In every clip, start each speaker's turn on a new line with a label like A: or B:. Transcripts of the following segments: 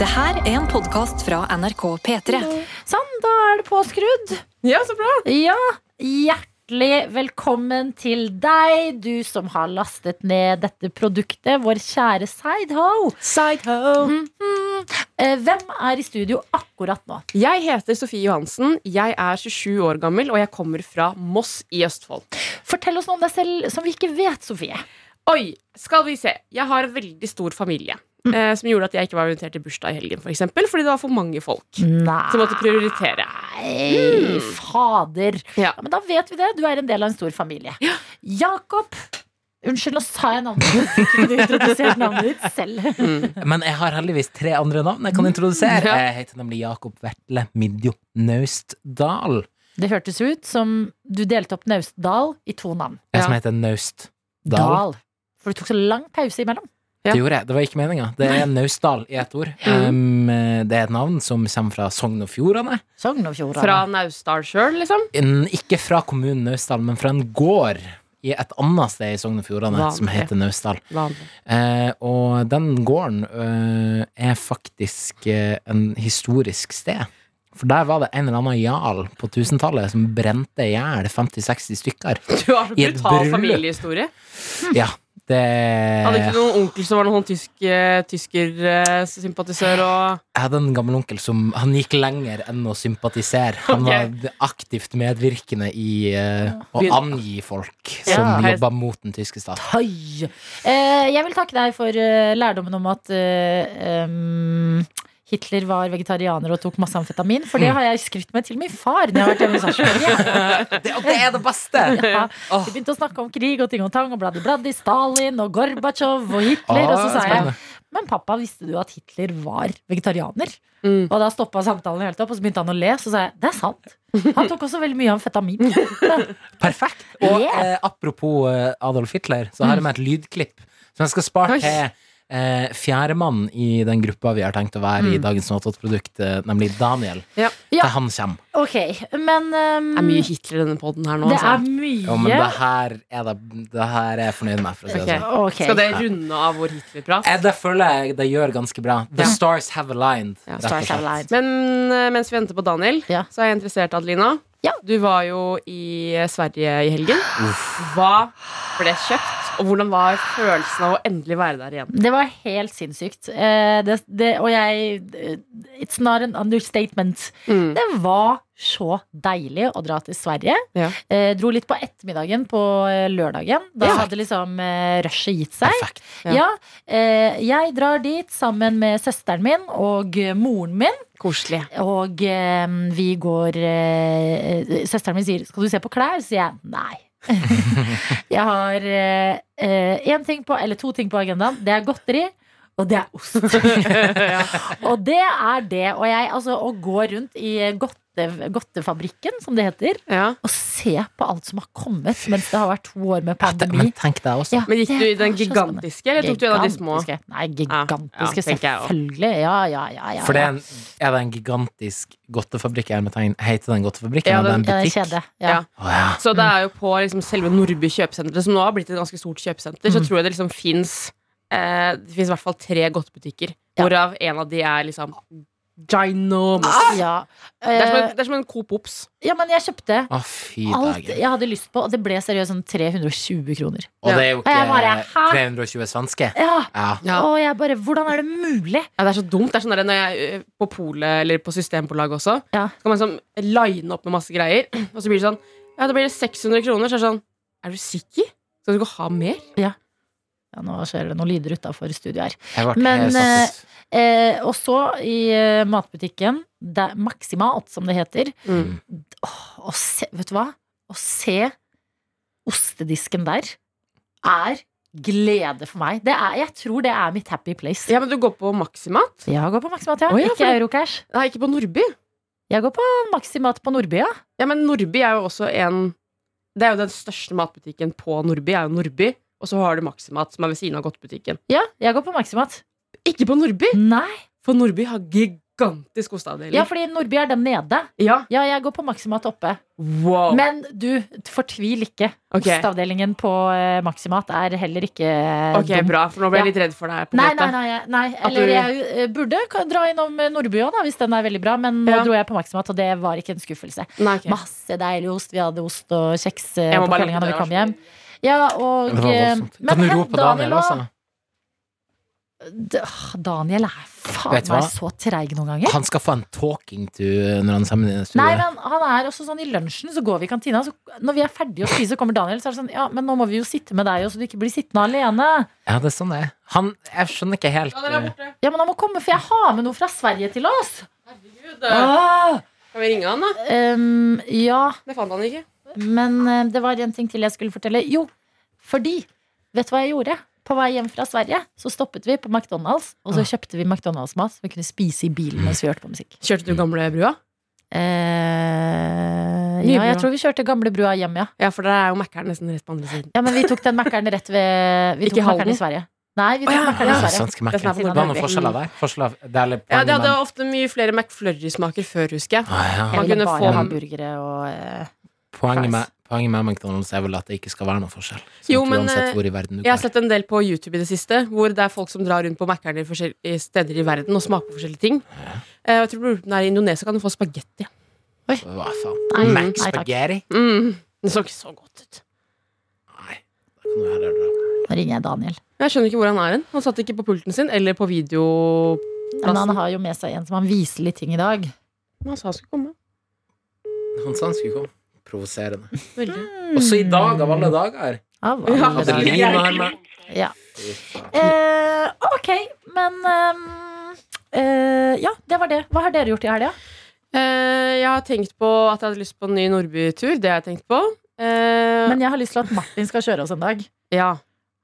A: Det her er en podkast fra NRK P3.
B: Sånn, da er det påskrudd.
C: Ja, så bra!
B: Ja, hjertelig velkommen til deg, du som har lastet ned dette produktet, vår kjære Sidehow.
C: Sidehow.
B: Eh, Hvem er i studio akkurat nå?
C: Jeg heter Sofie Johansen. Jeg er 27 år gammel, og jeg kommer fra Moss i Østfold.
B: Fortell oss noe om deg selv som vi ikke vet, Sofie.
C: Oi, skal vi se. Jeg har en veldig stor familie.
B: Mm.
C: Eh, som gjorde at jeg ikke var invitert til bursdag i helgen, for eksempel, fordi det var for mange folk.
B: Nei,
C: Som måtte prioritere.
B: fader. Ja,
C: Ja.
B: men da vet vi det. Du er en del av en stor familie. Jakob. Unnskyld, nå sa jeg navnet ditt. Fikk ikke du introdusert navnet ditt selv?
C: Mm.
D: Men jeg har heldigvis tre andre navn jeg kan introdusere.
C: Ja.
D: Jeg heter nemlig Jakob Vetle Midjo Naustdal.
B: Det hørtes ut som du delte opp Naustdal i to navn.
D: Jeg som
C: Ja.
D: heter Naustdal.
B: Dal. For du tok så lang pause imellom.
C: Ja.
D: Det gjorde jeg. Det var ikke meninga. Det er Naustdal i ett ord. Um, det er et navn som kommer fra Sogn og Fjordane.
B: Sogn og Fjordane.
C: Fra Naustdal sjøl, liksom.
D: En- Ikke fra kommunen Naustdal, men fra en gård i et annet sted i Sogn og Fjordane
C: Vanlig.
D: som heter Naustdal. Eh, og den gården eh, er faktisk eh, en historisk sted. For der var det en eller annen jarl på 1000-tallet som brente i hjel 50-60 stykker.
C: Du har så
D: I et
C: brutal
D: bryllup.
C: familiehistorie.
D: Ja, det
C: Hadde
B: Eh.
C: ikke
D: Jeg
C: du noen onkel som var noen tysk, eh, tyskersympatisør og
D: hadde en gammel onkel som Han gikk lenger enn å sympatisere. Han var aktivt medvirkende i eh, å
C: Begynn-
D: angi folk som
B: Ja.
D: jobba mot den tyske stat.
B: Høy. Eh, jeg vil takke deg for eh, lærdommen om at eh, em, Hitler var vegetarianer og tok masse amfetamin. For det har jeg skrytt med til min far. Når jeg har vært hjemme hos Sarpsborg.
D: Det, og det er det beste!
B: Ja. Vi begynte å snakke om krig og ting og tang og bladdi-bladdi. Stalin og Gorbatsjov og Hitler. og så
D: Ah,
B: sa jeg
D: spennende.
B: Men pappa, visste du at Hitler var vegetarianer?
C: Mm.
B: Og da stoppa samtalen helt opp, og så begynte han å le. Så sa jeg det er sant. Han tok også veldig mye amfetamin.
D: Perfekt. Og
B: Yeah.
D: eh, apropos eh, Adolf Hitler, så har jeg med et lydklipp som jeg skal spare
C: Oi.
D: til eh, fjerdemann i den gruppa vi har tenkt å være i dagens Nåtått-produkt, eh, nemlig Daniel.
C: Ja.
B: Ja.
D: Der han kommer.
B: Ok, men em,
C: Det er mye Hitler i denne poden her nå.
B: det
C: altså.
B: er mye.
D: Jo, men det her er det, det her er jeg fornøyd med, for å si det
C: Ok.
D: sånn.
B: Ok.
C: Skal det runde av vår Hitler-prat?
D: Eh, Det føler jeg det gjør ganske bra. The
C: Ja.
D: stars have aligned.
C: Ja,
D: rett og
B: Stars
D: slett.
B: Align.
C: Men eh, mens vi venter på Daniel,
B: Ja.
C: så er jeg interessert, Adelina.
B: Ja.
C: Du var jo i eh, Sverige i helgen. Hva ble kjøpt, og hvordan var følelsen av å endelig være der igjen?
B: Det var helt sinnssykt. Eh, det, det, og jeg eh, It's not an understatement. Det var så deilig å dra til Sverige.
C: Ja.
B: Eh, dro litt på ettermiddagen på eh, lørdagen. Da
C: Ja.
B: hadde liksom eh, rushet gitt seg.
D: Perfekt.
C: Ja.
B: Ja, eh, jeg drar dit sammen med søsteren min og eh, moren min.
C: Koselig.
B: Og eh, vi går eh, Søsteren min sier 'skal du se på klær?' sier jeg nei. jeg har eh, eh, én ting på, eller to ting på agendaen. Det er godteri, og det er ost. og det er det. Og jeg, altså, å gå rundt i godte, godtefabrikken, som det heter,
C: Ja.
B: og se på alt som har kommet mens det har vært to år med
D: Ja, det, men
B: pandemi.
D: tenk deg også.
B: Ja,
C: Men gikk
B: det
C: du i den
B: var så spennende.
C: gigantiske, eller tok du en av de små?
B: Gigantiske. Nei, gigantiske,
C: Ja, ja, tenker jeg også.
B: selvfølgelig. Ja, ja, ja, ja.
D: For det
B: ja.
D: er, en, er det en gigantisk godtefabrikk? i hermetegn? Heter den godtefabrikken?
C: Ja,
D: eller
C: den-
D: er
B: Ja,
D: det
B: det er
D: en butikk?
B: kjede. Ja.
C: Ja.
D: Å, ja.
C: Så det er jo på liksom selve Nordby kjøpesenter, som nå har blitt et ganske stort kjøpesenter, så
B: Mm.
C: tror jeg det liksom fins eh, Det fins i hvert fall tre godtebutikker,
B: Ja.
C: hvorav en av de er liksom ginormous.
B: ja.
C: Ah! Det er som
B: Eh,
C: en, det er som en Coop Ops.
B: Ja, men jeg kjøpte
D: Å, fy
B: alt
D: dagen.
B: jeg hadde lyst på, og det ble seriøst sånn 320 kroner.
D: Og det er jo
B: Og jeg bare,
D: ikke
B: hæ?
D: 320 svenske.
B: Ja,
D: Ja.
C: Ja.
B: Og jeg bare Hvordan er det mulig?
C: Ja, det er så dumt. Det er sånn der, når jeg ø, På polet eller på Systembolaget også,
B: Ja.
C: så kan man liksom line opp med masse greier, og så blir det sånn Ja, da blir det 600 kroner. Så er det sånn Er du sikker? Skal du ikke ha mer?
B: Ja, nå skjer det noen lyder utafor studioet her.
D: Jeg ble
B: Men,
D: helt sånn- satt ut.
B: Eh, og så i eh, matbutikken, det er Maximat, som det heter.
C: Mm.
B: Åh, å se, vet du hva? Å se ostedisken der er glede for meg. Det er, jeg tror det er mitt happy place.
C: Ja, men du går på Maximat?
B: Jeg går på Maximat, ja.
C: Å, ja, for
B: Ikke
C: det-
B: Eurocash.
C: Nei, ikke på Nordby.
B: Jeg går på Maximat på Nordby, ja.
C: Ja, men Nordby er jo også en Det er jo den største matbutikken på Nordby, er jo Nordby. Og så har du Maximat, som er ved siden av godtebutikken.
B: Ja, jeg går på Maximat.
C: Ikke på Nordby!
B: Nei.
C: For Nordby har gigantisk gigantisk osteavdeling.
B: Ja, fordi Nordby er den nede.
C: Ja.
B: Ja, jeg går på Maximat oppe.
C: Wow.
B: Men du, fortvil ikke.
C: Ok.
B: Ostavdelingen på eh, Maximat er heller ikke eh,
C: ok,
B: dum.
C: bra, for nå ble
B: Ja.
C: jeg litt redd for deg. på en
B: Nei, nei,
C: måte.
B: nei, jeg- nei. Eller
C: du-
B: jeg eh, burde ka- dra innom eh, Nordby òg, hvis den er veldig bra. Men nå
C: Ja.
B: dro jeg på Maximat, og det var ikke en skuffelse.
C: Nei, ok.
B: Masse deilig ost. Vi hadde ost og kjeks eh,
C: Jeg må
B: på
C: bare
B: kvelden
C: lukke
B: da vi
C: døra,
B: kom hjem. Ja, og
D: Det var
B: eh,
D: voldsomt. Kan du
B: hen,
D: rope Daniel
B: da?
D: også?
B: D- åh, Daniel er faen
D: Vet du
B: meg
D: hva?
B: så treig noen ganger.
D: Han skal få en talking to eh, når han kommer inn i
B: Nei,
D: studioet.
B: men han er også sånn I lunsjen så går vi i kantina. Så når vi er ferdige å spise, så kommer Daniel. Så er det sånn, ja, men nå må vi jo sitte med deg, også, så du ikke blir sittende alene.
D: Ja, det er sånn det er. Han, jeg skjønner ikke helt
C: Ja, dere er
D: eh,
C: borte.
B: Ja, men han må komme, for jeg har med noe fra Sverige til oss.
C: Herregud. eh,
B: Åh!
C: Kan vi ringe han, da?
B: Ehm, ja,
C: Det fant han ikke.
B: men eh, det var en ting til jeg skulle fortelle. Jo, fordi Vet du hva jeg gjorde? På vei hjem fra Sverige så stoppet vi på McDonald's, og så kjøpte vi McDonald's-mat som vi kunne spise i bilen mens vi hørte på musikk.
C: Kjørte du gamle brua?
B: Eh, ja,
C: Nybrua.
B: jeg tror vi kjørte gamlebrua hjem, ja.
C: Ja, for der er jo Mækkern nesten rett på andre siden.
B: Ja, men vi tok den Mækkern rett ved Vi tok
C: Ikke Halden?
B: Mækkern i Sverige. Nei, vi tok
C: Å, ja.
B: Mækkern i
D: ja,
B: Sverige.
D: svenske
C: Det som er
D: merker.
C: på
D: Det var noen
C: Nordby.
D: forskjeller der. Forskjeller, det er litt
C: Ja, de
D: poenget,
C: hadde
D: men-
C: ofte mye flere McFlurry-smaker før, husker jeg.
D: Å, ja.
B: Jeg ville
C: kunne
B: bare
C: få-
B: ha burgere og eh,
D: Poenget
B: Fries.
D: med, poenget med McDonald's er vel at det ikke skal være noen forskjell. Sånn
C: Jo,
D: at
C: men, eh,
D: uansett hvor i verden du
C: Jeg har
D: går.
C: sett en del på YouTube i det siste, hvor det er folk som drar rundt på Mækkern i forskjellige steder i verden og smaker på forskjellige ting. Eh, og Jeg tror den er i Indonesia kan du få spagetti.
D: Hva faen?
B: Nei,
C: Mm.
B: nei,
D: Mac
B: takk.
D: Spaghetti?
C: Mm. Den så ikke så godt ut.
D: Nei. Da kan du heller dra på.
B: Nå ringer jeg Daniel.
C: Jeg skjønner ikke hvor han er hen. Han satt ikke på pulten sin eller på video...
B: Men han har jo med seg en som han viser litt ting i dag.
C: Men han sa han skulle komme.
D: Han sa han skulle komme. Provoserende.
C: Veldig.
B: Hmm.
D: Også i dag, av alle dager.
B: Av
C: Ja,
B: alle
D: Altså,
B: dager.
D: Lina er med.
B: Ja.
D: Fy faen.
B: Eh, ok, men eh, eh, Ja, det var det. Hva har dere gjort i helga?
C: Eh, jeg har tenkt på at jeg hadde lyst på en ny Nordby-tur. Det har jeg tenkt på. Eh,
B: Men jeg har lyst til at Martin skal kjøre oss en dag.
C: ja.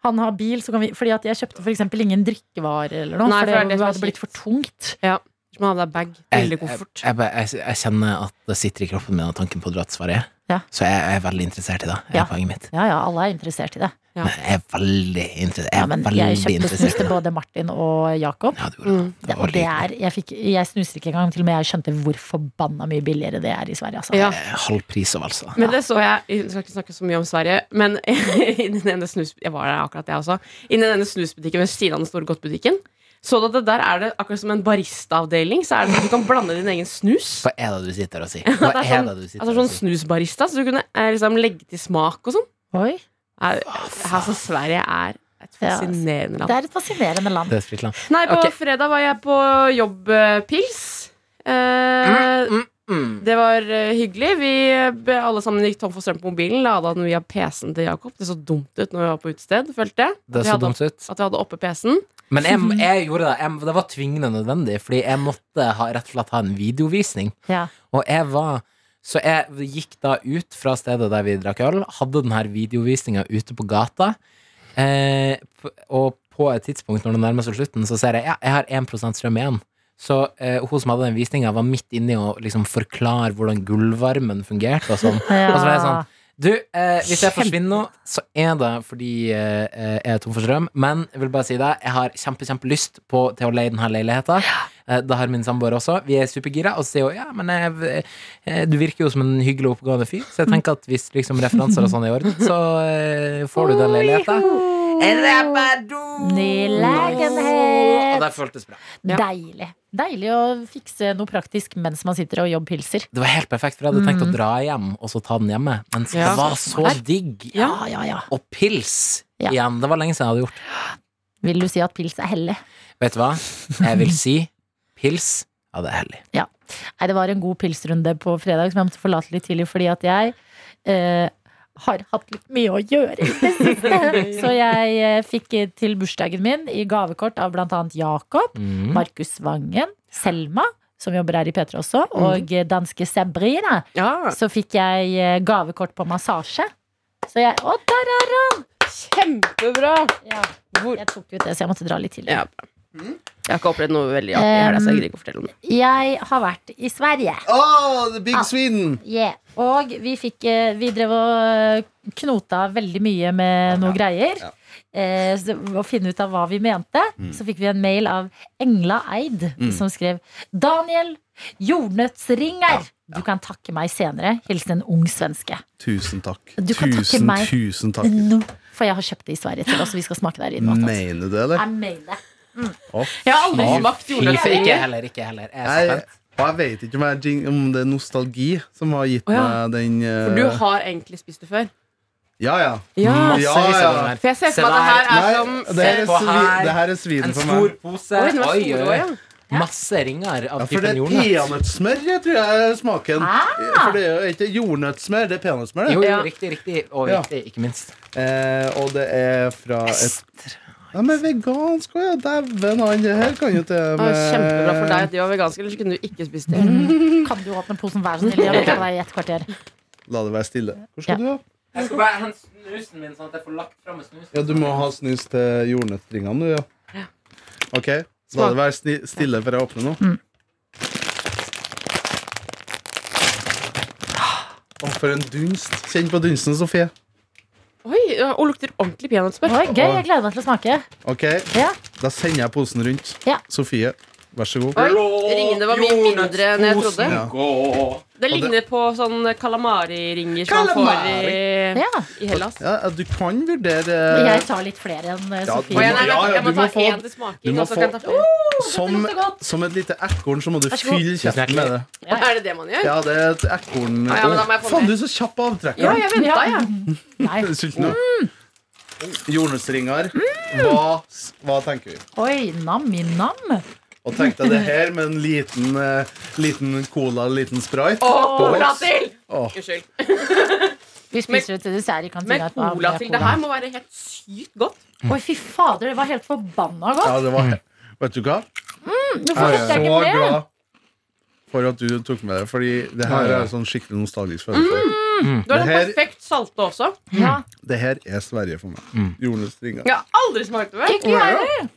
B: Han har bil, så kan vi Fordi at jeg kjøpte f.eks. ingen drikkevarer eller noe.
C: Nei,
B: for det,
C: for det er det som er
B: hadde blitt for tungt.
C: Hvis man hadde bag. Veldig koffert.
D: Jeg, jeg, jeg, jeg kjenner at det sitter i kroppen min av tanken på å dra til Sverige.
B: Ja.
D: Så jeg, jeg er veldig interessert i det. er
B: Ja.
D: poenget mitt.
B: Ja ja, alle er interessert i det.
C: Ja.
D: Jeg er veldig interessert. Jeg
B: Ja,
D: er
B: men
D: veldig
B: jeg kjøpte snus
D: interessert i
B: til
D: det.
B: både Martin og Jakob.
D: Ja, du gjorde det.
C: Mm.
D: Det
B: Det,
D: var
B: og det
D: like-
B: er, jeg, fikk, jeg snuser ikke engang, til og med jeg skjønte hvor forbanna mye billigere det er i Sverige. Altså.
C: Ja.
D: eh, halv pris av, altså.
C: Men det så jeg Jeg skal ikke snakke så mye om Sverige, men i den ene snus, jeg var der akkurat, jeg også. I den ene snusbutikken ved siden av den store godtbutikken. Så du at det der er det akkurat som en baristaavdeling, så er det sånn at du kan blande din egen snus.
D: Hva er det du sitter og sier? Hva
C: det er
D: er
C: sånn-
D: det du sitter
C: Altså sånn
D: og sier?
C: snusbarista, så du kunne eh, liksom legge til smak og sånn.
B: Oi,
C: Er- Altså, Sverige er et
B: Ja,
C: fascinerende land.
B: det er et fascinerende land.
D: Det er et fritt land.
C: Nei, på
D: Ok.
C: fredag var jeg på jobbpils. Eh,
D: Mm, mm.
C: det var eh, hyggelig. Vi eh, be- alle sammen gikk tom for strøm på mobilen. Lada den via PC-en til Jakob. Det så dumt ut når vi var på utested, følte jeg.
D: Det
C: Vi
D: så
C: hadde
D: dumt ut.
C: At vi hadde oppe PC-en.
D: Men jeg, jeg gjorde det. Jeg, det var tvingende nødvendig, fordi jeg måtte ha, rett og slett ha en videovisning.
B: Ja.
D: Og jeg var Så jeg gikk da ut fra stedet der vi drakk øl, hadde den her videovisninga ute på gata, eh, p- og på et tidspunkt når det nærmer seg slutten, så ser jeg ja, jeg har 1 strøm igjen. Så eh, hun som hadde den visninga, var midt inni og liksom forklare hvordan gulvvarmen fungerte og sånn.
B: Ja.
D: Og så var jeg sånn du, eh, hvis jeg forsvinner nå, så er det fordi eh, eh, jeg er tom for strøm. Men jeg vil bare si det, jeg har kjempe, kjempelyst på, til å leie denne leiligheta. Eh, det har min samboer også. Vi er supergira. Og så sier hun ja, men jeg, eh, du virker jo som en hyggelig og oppegående fyr, så jeg tenker at hvis liksom, referanser og sånn er i orden, så eh, får du den leiligheta.
B: Nylegenhet.
D: Og sånn, det føltes bra.
C: Ja.
B: Deilig. Deilig å fikse noe praktisk mens man sitter og jobbpilser.
D: Det var helt perfekt, for jeg hadde tenkt
B: Mm.
D: å dra hjem og så ta den hjemme. Men
C: Ja.
D: det var så digg.
B: Ja, ja, ja.
D: Og pils
B: Ja.
D: igjen. Det var lenge siden jeg hadde gjort.
B: Vil du si at pils er hellig?
D: Vet du hva? Jeg vil si pils. Ja, det er hellig.
B: Nei, det var en god pilsrunde på fredag som jeg måtte forlate litt tidlig fordi at jeg eh, har hatt litt mye å gjøre i det siste. Så jeg eh, fikk eh, til bursdagen min i gavekort av blant annet Jakob,
D: Mm.
B: Markus Vangen, Selma, som jobber her i P3 også, og eh, danske Sabrina.
C: Ja.
B: Så fikk jeg eh, gavekort på massasje. Så jeg Å, der er
C: Kjempebra!
B: ja,
C: Hvor
B: Jeg tok ut det, så jeg måtte dra litt tidlig.
C: Ja. Jeg har ikke opplevd noe veldig artig i helga, så jeg gidder ikke å fortelle om det.
B: Jeg har vært i Sverige.
E: Oh, the big Sweden!
B: Yeah. Og vi fikk eh, Vi drev og eh, knota veldig mye med noe greier.
E: Ja. Mm.
B: Eh, så det- å finne ut av hva vi mente. Så fikk vi en mail av Engla Eid, som skrev Daniel, jordnøttsringer! Du kan takke meg senere. Hilsen en ung svenske.
E: Tusen takk.
B: Du kan takke
E: tusen,
B: meg.
E: tusen takk.
B: Nå, for jeg har kjøpt det i Sverige til oss, og vi skal smake der i natt. altså.
E: Mener du det, eller?
B: Jeg mener det.
C: Jeg har aldri smakt
D: Ikke
C: jordnøttsringer.
D: ikke heller, ikke heller. Jeg er
E: Jeg,
D: spent.
E: og jeg vet ikke om, jeg, jing- om det er nostalgi som har gitt
C: Å, ja.
E: meg den eh,
C: For du har egentlig spist det før.
E: Ja, ja. Mm,
C: Ja.
E: Ja,
D: Massevis av
E: ja.
D: den her.
C: For jeg ser
D: Se
C: for meg at det her
D: der.
E: Nei,
C: er som
E: det her er,
D: på
E: svi,
D: her.
E: det her er
D: En
E: sviden for
D: stor
E: meg.
D: pose.
C: Oi, den var
D: Oi,
C: stor
D: oi,
C: også,
D: oi.
C: ja.
D: Masse ringer av
E: Ja, for det
D: typen
E: er
D: jordnøtt.
E: peanøttsmør, jeg tror jeg smaker. For det er jo ikke jordnøttsmør, det er peanøttsmør.
D: Jo,
E: det.
D: jo,
C: Ja.
D: riktig, riktig. Og
E: Ja.
D: viktig, ikke minst.
E: Eh, og det er fra et
D: Ester.
E: Ja, men vegansk òg, ja. Dæven, han det her kan jo til
C: Å, Kjempebra for deg at de var veganske, ellers kunne du ikke spist det.
B: Kan du åpne posen, vær så snill? Jeg har ventet på deg i et kvarter.
E: La det være stille. Hvor skal
B: Ja.
E: du, da?
D: Jeg skal bare hente snusen min, sånn at jeg får lagt framme snusen.
E: Ja, du må ha snus til jordnøttringene, du, ja. OK. La
C: Smak.
E: det være sni stille før jeg åpner nå.
B: Mm.
E: Å, for en dunst. Kjenn på dunsten, Sofie.
C: Oi, ja, Og lukter ordentlig peanøttsmør.
B: Oi, gøy, jeg gleder meg til å smake.
E: OK,
B: Ja.
E: da sender jeg posen rundt.
B: Ja.
E: Sofie, vær så god.
C: Oi, Ringene var mye mindre enn jeg trodde.
E: Ja.
C: Det ligner på sånn kalamari-ringer som man får i,
B: Ja.
C: i Hellas.
E: Ja, du kan vurdere
B: Jeg tar litt flere enn eh,
E: Eh. Ja,
C: Og
E: må-
B: Sofie.
C: jeg, nei,
E: ja, ja,
C: jeg må
E: du
C: ta
E: må få-
C: én til
E: du
C: smaking,
E: må
C: og så kan jeg ta
E: få-
C: flere.
E: eh, som,
B: lukter godt.
E: som et lite ekorn, så må du
B: Vær så god.
E: fylle kjeften med det.
C: Er det det man gjør?
E: Ja, det er et ekorn
C: Ah, ja, men da må jeg få
E: Faen,
C: mer.
E: du er så kjapp på avtrekkeren.
C: Ja, jeg venta,
B: Ja.
C: jeg.
B: Nei.
E: Er du sulten nå? Mm. Jordnøttsringer. Hva, hva tenker vi?
B: Oi, nam i nam.
E: Og tenk deg det her med en liten, eh, liten cola, liten sprite.
C: Og
E: På
C: cola
E: boks.
C: til!
E: Åh.
C: Unnskyld.
B: Vi spiser det til dessert i
C: Men
B: kantina. etterpå.
C: cola til det her må være helt sykt godt.
B: Oi, fy fader, det var helt forbanna godt.
E: Ja, det var Vet du hva?
B: Hvorfor
E: Jeg
B: kjøpte
E: er
B: jeg
E: så
B: ikke mer?
E: glad for at du tok med det, Fordi det her er sånn skikkelig nostalgisk følelse.
C: Du har
E: Det
C: den
E: her-
C: perfekt salte også.
B: Ja.
E: Det her er Sverige for meg. Jordnøttsringer.
C: Jeg har aldri smakt det før.
B: Ikke jeg heller.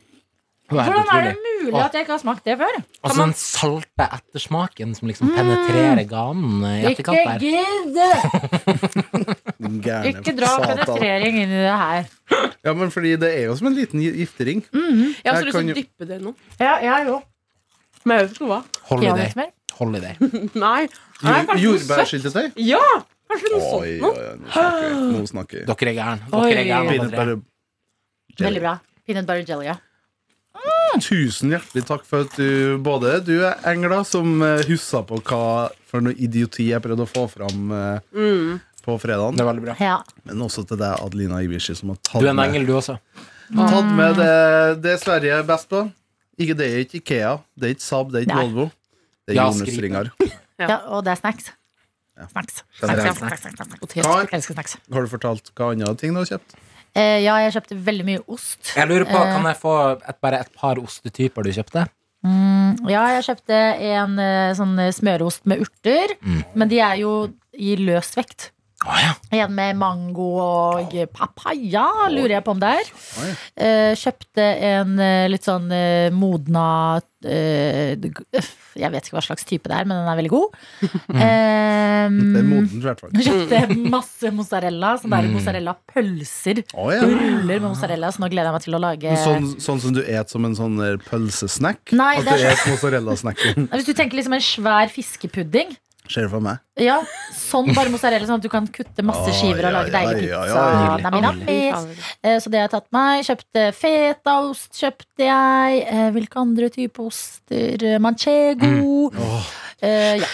B: Hvordan er det
D: utrolig.
B: mulig at jeg ikke har smakt det før?
D: Og så den salte ettersmaken som liksom penetrerer ganen eh, i
B: Ikke
D: etterkant der.
B: gidd!
E: Den gærne
B: Ikke dra
E: satan.
B: penetrering inn i det her.
E: Ja, men fordi det er jo som en liten gi- giftering.
C: Jeg har så
E: Jeg
C: lyst til
E: kan jo-
C: å dyppe det i noe.
B: Ja, ja, jo.
C: Men jeg vet ikke hva.
D: Holiday.
B: Peanøttsmør.
D: Holiday.
C: Nei. Nei
E: Jo-
C: kanskje noe søtt.
E: Jordbærsyltetøy.
C: Ja! Kanskje noe
E: Oi,
C: sånt
E: oi,
C: noe.
E: oi, nå snakker vi. Nå snakker vi.
D: Dere er gæren.
B: Oi.
D: Dere er gæren, alle
E: Peanut
D: tre.
E: butter
B: Veldig bra. Peanut butter jelly, ja.
E: Tusen hjertelig takk for at du både du er engla som eh, huska på hva for noe idioti jeg prøvde å få fram eh,
C: Mm.
E: på fredagen.
D: Det er veldig bra.
B: ja.
E: Men også til deg, Adelina Ibishi, som har tatt
D: Du er en
E: med,
D: engel, du også.
E: tatt med det, det Sverige er best på. Ikke, det er ikke Ikea, det er ikke Saab, det er ikke
B: Nei.
E: Volvo. Det er
D: Ja,
E: jordnøttsringer.
B: ja. Og det er snacks. Snacks. Snacks, ja. snacks, snacks, snacks.
E: Kar,
B: Jeg elsker snacks.
E: Har du fortalt hva andre ting du har kjøpt?
B: Eh, Ja, jeg kjøpte veldig mye ost.
D: Jeg lurer på, Kan jeg få et, bare et par ostetyper du kjøpte?
B: Ja, jeg kjøpte en eh, sånn eh, smørost med urter,
E: Mm.
B: men de er jo i løs vekt.
D: Å ja.
B: En med mango og papaya, lurer jeg på om det er.
E: Oi.
B: Eh, kjøpte en eh, litt sånn eh, modna eh, g- øff, Jeg vet ikke hva slags type det er, men den er veldig god. Eh,
E: Det er Mm. modent, i hvert fall.
B: kjøpte masse mozzarella, sånn der mozzarella-pølser.
E: Å, ja.
B: Ruller med mozzarella, så nå gleder jeg meg til å lage
E: Sånn, sånn som du et som en sånn der pølsesnack?
B: Nei,
E: At
B: det er
E: du et mozzarella-snacken?
B: Hvis du tenker liksom en svær fiskepudding,
E: Skjer det for meg?
B: Ja, sånn bare mozzarella, sånn at du kan kutte masse
E: Oi,
B: skiver og
E: oi,
B: lage deilig
E: oi,
B: pizza.
E: oi, oi.
B: Nami, nami. Eh, Så det har jeg tatt meg. Kjøpte fetaost, kjøpte jeg. Eh, Hvilke andre typer oster? Eh, Manchego.
D: Mm.
B: Eh, ja,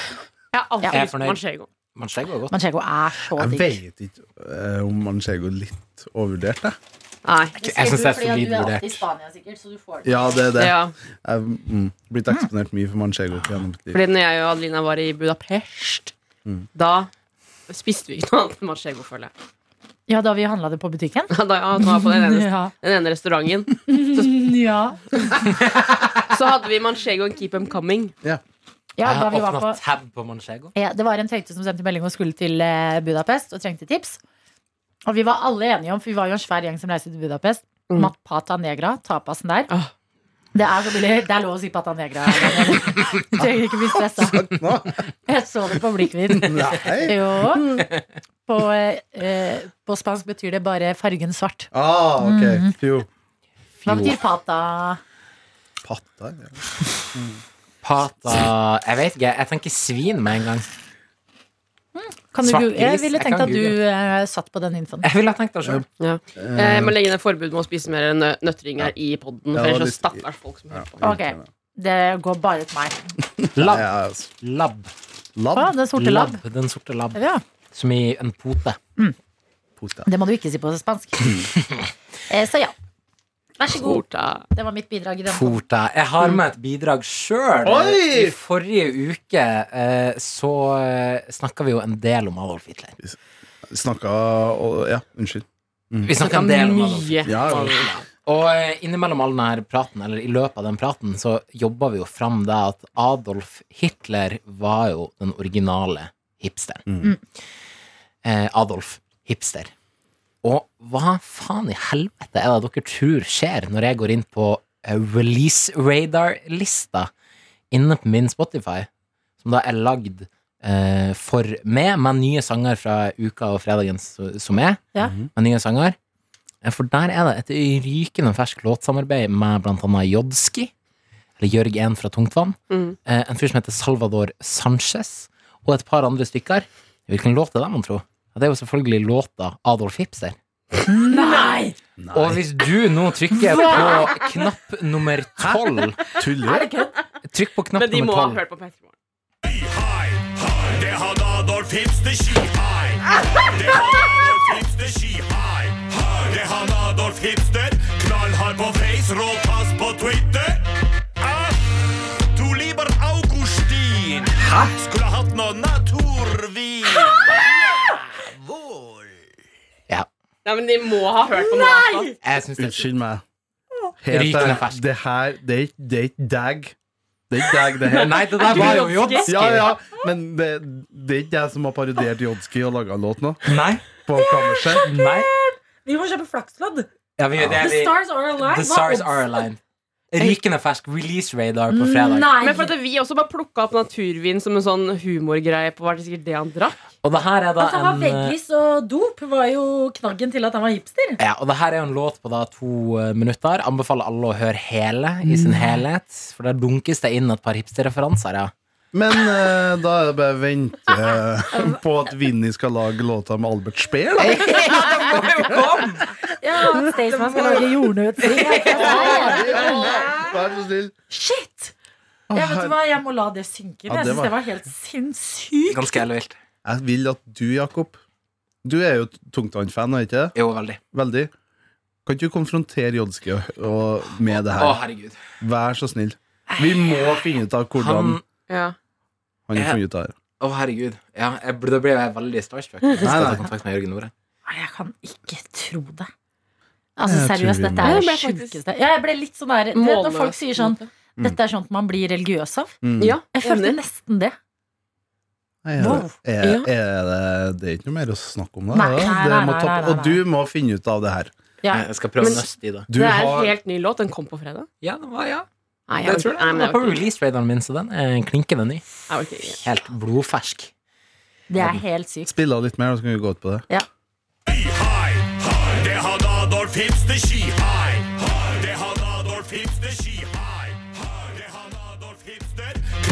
C: Jeg har alltid
D: Jeg er
C: lyst på
D: fornøyd.
C: manchego.
D: Manchego er godt.
B: manchego er så
E: Jeg
B: digg.
E: vet ikke eh, om manchego er litt overvurdert, jeg.
C: Nei.
D: Jeg synes det er
B: Fordi at
D: solid
B: Du er alltid i
D: vurdert.
B: Spania sikkert, så du får det.
E: Ja, det er det.
C: Ja.
E: Jeg har mm, blitt eksponert mye for manchego opp gjennom mitt liv.
C: Fordi når jeg og Adelina var i Budapest,
E: Mm.
C: da spiste vi ikke noe annet enn manchego, føler jeg.
B: Ja, da vi handla det på butikken.
C: Da jeg var på den ene,
B: Ja.
C: den ene restauranten,
B: ja.
C: så hadde vi manchego and keep them coming.
B: ja,
D: Jeg
B: da
D: har
B: vi var
D: åpna
B: på
D: tab på manchego.
B: Ja, det var en tøyte som sendte melding og skulle til eh, Budapest og trengte tips. Og vi var alle enige om, for vi var jo en svær gjeng som reiste til Budapest,
C: Mm.
B: Matpata Negra, tapasen der.
C: Ah.
B: Det er så billig. Det er lov å si Pata Negra. Du trenger ikke bli stressa.
E: Nå,
B: Jeg så det på blikket ditt.
E: Nei.
B: Jo. På, eh, på spansk betyr det bare fargen svart.
E: Ah, ok. Fjo.
B: Hva betyr pata?
E: Patta. Ja.
D: Pata Jeg vet ikke, jeg tenker svin med en gang.
B: Kan du,
D: Svart
B: google- jeg
D: gris.
B: ville
D: Jeg
B: tenkt
D: kan
B: at du eh, satt på den infoen.
D: Jeg ville ha tenkt det sjøl.
C: Ja. Eh, Jeg må legge ned forbud mot å spise mer nø nøtteringer i podden For
E: Ja, det var
C: ellers så
E: litt-
C: stakkars folk som hører på.
B: Ok, det går bare til meg.
E: Nei,
D: Lab.
E: ja, altså.
D: Lab.
E: Labb.
B: Å, den sorte labb.
D: Den sorte lab.
B: Ja,
D: Som i en pote.
E: Potet.
B: det må du ikke si på spansk. Eh, Så ja,
C: Vær så god. da.
B: det var mitt bidrag i den. podden.
D: Porta. Jeg har med et bidrag sjøl.
E: Oi!
D: I forrige uke eh, så snakka vi jo en del om Adolf Hitler.
E: Snakka og Ja, unnskyld.
D: Vi snakka en del om Adolf Hitler.
C: Mye.
E: Ja, ja.
D: Og eh, innimellom all denne praten, eller i løpet av den praten, så jobba vi jo fram det at Adolf Hitler var jo den originale hipsteren.
E: Mm.
D: Eh, Adolf hipster. Og hva faen i helvete er det dere tror skjer når jeg går inn på eh, release radar-lista inne på min Spotify, som da er lagd eh, for meg, med nye sanger fra uka og fredagen s- som er,
B: Ja.
D: med Mm. nye sanger. Eh, For der er det et rykende ferskt låtsamarbeid med blant annet Jodski, eller Jørg 1 fra Tungtvann,
C: Mm.
D: eh, en fyr som heter Salvador Sanchez, og et par andre stykker. Hvilken låt er det, man tror? Ja, det er jo selvfølgelig låta Adolf Hipster.
B: Nei!
D: Og hvis du nå trykker på knapp nummer tolv
E: Tuller du?
D: Trykk på knapp
C: Men de må
D: nummer
C: ha
D: tolv.
C: hørt på Petter Morgen.
F: Hei, hei, det hadde Adolf Hipster skihai. Det hadde Adolf Hipster skihai. Hei, det hadde Adolf Hipster. Knallhard på face, råpass på Twitter. Ah, Du lieber Augustin. Skulle hatt noe naturvin. Hvor?
C: Nei, men de må ha hørt på Nei!
D: Jeg synes det
E: Unnskyld meg.
D: Rykende
E: Heter
D: fersk.
E: eh, det her Det er ikke- det er ikke deg. Det er ikke deg, det her.
D: Nei, det der var jo Jodski.
E: Ja, ja, men det, det er ikke jeg som har parodiert Jodski og laga en låt nå.
D: Nei.
E: På kammerset.
D: Nei.
G: Vi må kjøpe flakslodd.
D: Ja, vi, det, er
G: The
D: vi,
G: Stars Are Alive.
D: The Stars Are Aligned. Rykende fersk release radar på fredag.
B: Nei!
C: Men for at vi også bare plukka opp naturvin som en sånn humorgreie på Var det sikkert det han drakk?
D: Og det her er da
B: At han Altså, var
D: en eh,
B: veggis og dop, var jo knaggen til at han var hipster.
D: ja, og det her er jo en låt på da to eh, minutter. Anbefaler alle å høre hele i sin helhet. For der dunkes det inn et par hipsterreferanser. Ja.
E: Men eh, da er det bare å vente eh, på at Vinni skal lage låta med Albert Speer, da.
B: Ja, Staysman skal lage jordnøtter.
E: Vær så snill.
B: Shit! Jeg vet du hva, jeg må la det synke. Jeg
E: Ja, det
B: syns
E: var-
B: det var helt sinnssykt.
D: Ganske ellevilt.
E: Jeg vil at du, Jakob Du er jo tungtvann-fan, er ikke det?
D: Jo, veldig.
E: Veldig. Kan ikke du konfrontere Jodski og- og- med det
D: Å,
E: her?
D: herregud.
E: Vær så snill. Vi må finne ut av hvordan
D: Han
C: Ja.
E: han har funnet ut av det.
D: Å, herregud. Ja, jeg, ble- da ble jeg veldig starstruck. Jeg skal
E: Nei, nei.
D: ta kontakt med Jørgen Nore.
B: Nei, Jeg kan ikke tro det. Altså
E: Jeg tror
B: seriøst,
E: vi må-
B: dette er
C: Nei,
B: det
C: jeg ble faktisk-
B: sjukeste. Ja, jeg ble litt sånn der du vet, Når
C: Målløs,
B: folk sier sånn
C: på en måte.
B: Dette er sånt man blir religiøs av.
E: Mm.
C: Ja,
B: Jeg følte
C: enig.
B: nesten det.
E: Nei, Er,
B: Wow.
E: er, er det, det er ikke noe mer å snakke om, da.
B: Nei,
E: det,
B: nei,
E: det
B: nei,
E: må
B: nei,
E: tappe-
B: nei, nei,
E: Og du må finne ut av det her.
B: Ja.
D: Jeg skal prøve å nøste i det.
E: Du
C: det er en
E: har
C: helt ny låt. Den kom på fredag.
D: Ja, det var ja.
C: Nei,
D: Jeg tror det.
C: Nei,
D: Den
C: men
D: var på
C: orker ikke.
D: release radaren min, så den er klinkende ny.
C: Jeg orker ikke.
D: Helt blodfersk.
B: Det er helt sykt.
E: spilla litt mer, og så kan vi gå ut på det.
B: Ja.
F: Hei, hei, det hadde Adolf Hipster skihai. Hei, det hadde Adolf Hipster skihai. Hei, det hadde Adolf Hipster.